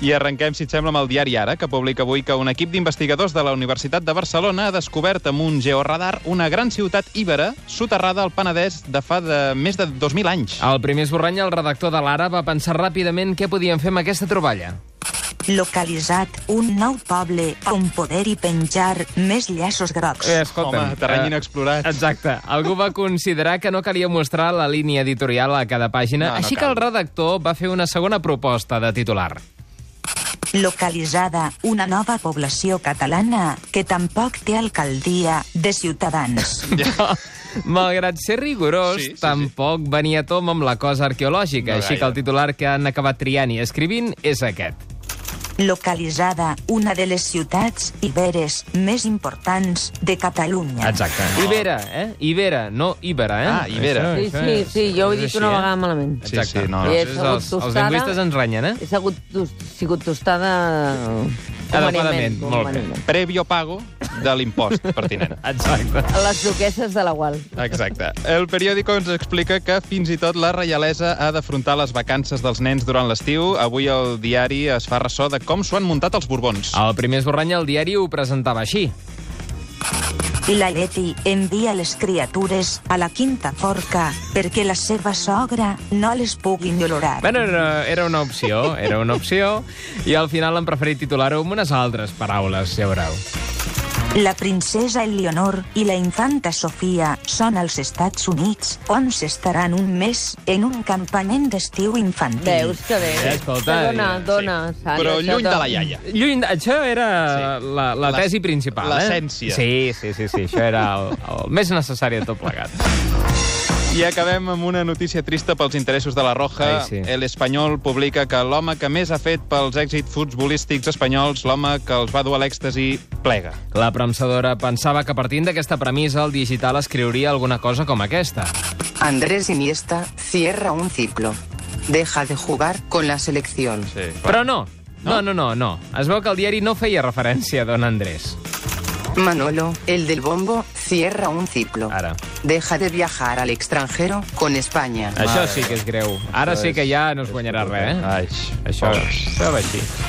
I arrenquem, si et sembla, amb el diari Ara, que publica avui que un equip d'investigadors de la Universitat de Barcelona ha descobert amb un georradar una gran ciutat íbera soterrada al Penedès de fa de més de 2.000 anys. Al primer esborrany, el redactor de l'Ara va pensar ràpidament què podien fer amb aquesta troballa. Eh, Localitzat un nou poble on poder-hi penjar més llaços grocs. Eh, escolta'm, Home, terreny eh, inexplorat. Exacte. Algú va considerar que no calia mostrar la línia editorial a cada pàgina, No, no així que cal. el redactor va fer una segona proposta de titular. Localitzada una nova població catalana que tampoc té alcaldia de ciutadans. Malgrat ser rigorós, Sí, sí, sí, sí. sí, tampoc venia a tom amb la cosa arqueològica, No no així que gaire. el titular que han acabat triant i escrivint és aquest. Localitzada una de les ciutats iberes més importants de Catalunya. Exacte. Ibera, eh? Ibera, no Ibera, eh? Ah, Ibera. Sí, sí, sí, jo ho he dit una vegada malament. Sí, sí, no, no. I he Els, segut els, els tostada. lingüistes ens renyen, eh? He sigut, tos- sigut tostada... Adequadament, convenientment, molt bé. convenientment. Previo pago de l'impost pertinent. Exacte. Les duquesses de la Gual. Exacte. El periòdico ens explica que fins i tot la reialesa ha d'afrontar les vacances dels nens durant l'estiu. Avui el diari es fa ressò de com s'ho han muntat els Borbons. El primer esborrany al diari ho presentava així. I la Leti envia les criatures a la quinta forca perquè la seva sogra no les pugui ignorar. Bueno, era, era una opció, era una opció, i al final han preferit titular-ho amb unes altres paraules, ja veureu. La princesa Eleonor i la infanta Sofia són als Estats Units, on s'estaran un mes en un campament d'estiu infantil. Veus que bé. Sí, escolta, dona, sí. dona. Sandra, Però això lluny de la dona. iaia. Lluny, de- això era Sí. sí. la, la La- tesi principal, eh? l'essència. Sí, sí, sí, sí, això era el, el més necessari de tot plegat. I acabem amb una notícia trista pels interessos de la Roja. Ai, sí. El Espanyol publica que l'home que més ha fet pels èxits futbolístics espanyols, l'home que els va dur a l'èxtasi, plega. La premsadora pensava que partint d'aquesta premissa el digital escriuria alguna cosa com aquesta. Andrés Iniesta cierra un ciclo. Deja de jugar con la selección. Sí, Però no, no, no, no, no. Es veu que el diari no feia referència a Don Andrés. Manolo, el del bombo, cierra un ciclo. Ara. Deja de viajar al extranjero con España. Això sí que és greu. Ara sí que ja no es guanyarà res, eh? Ai, Això, això va així.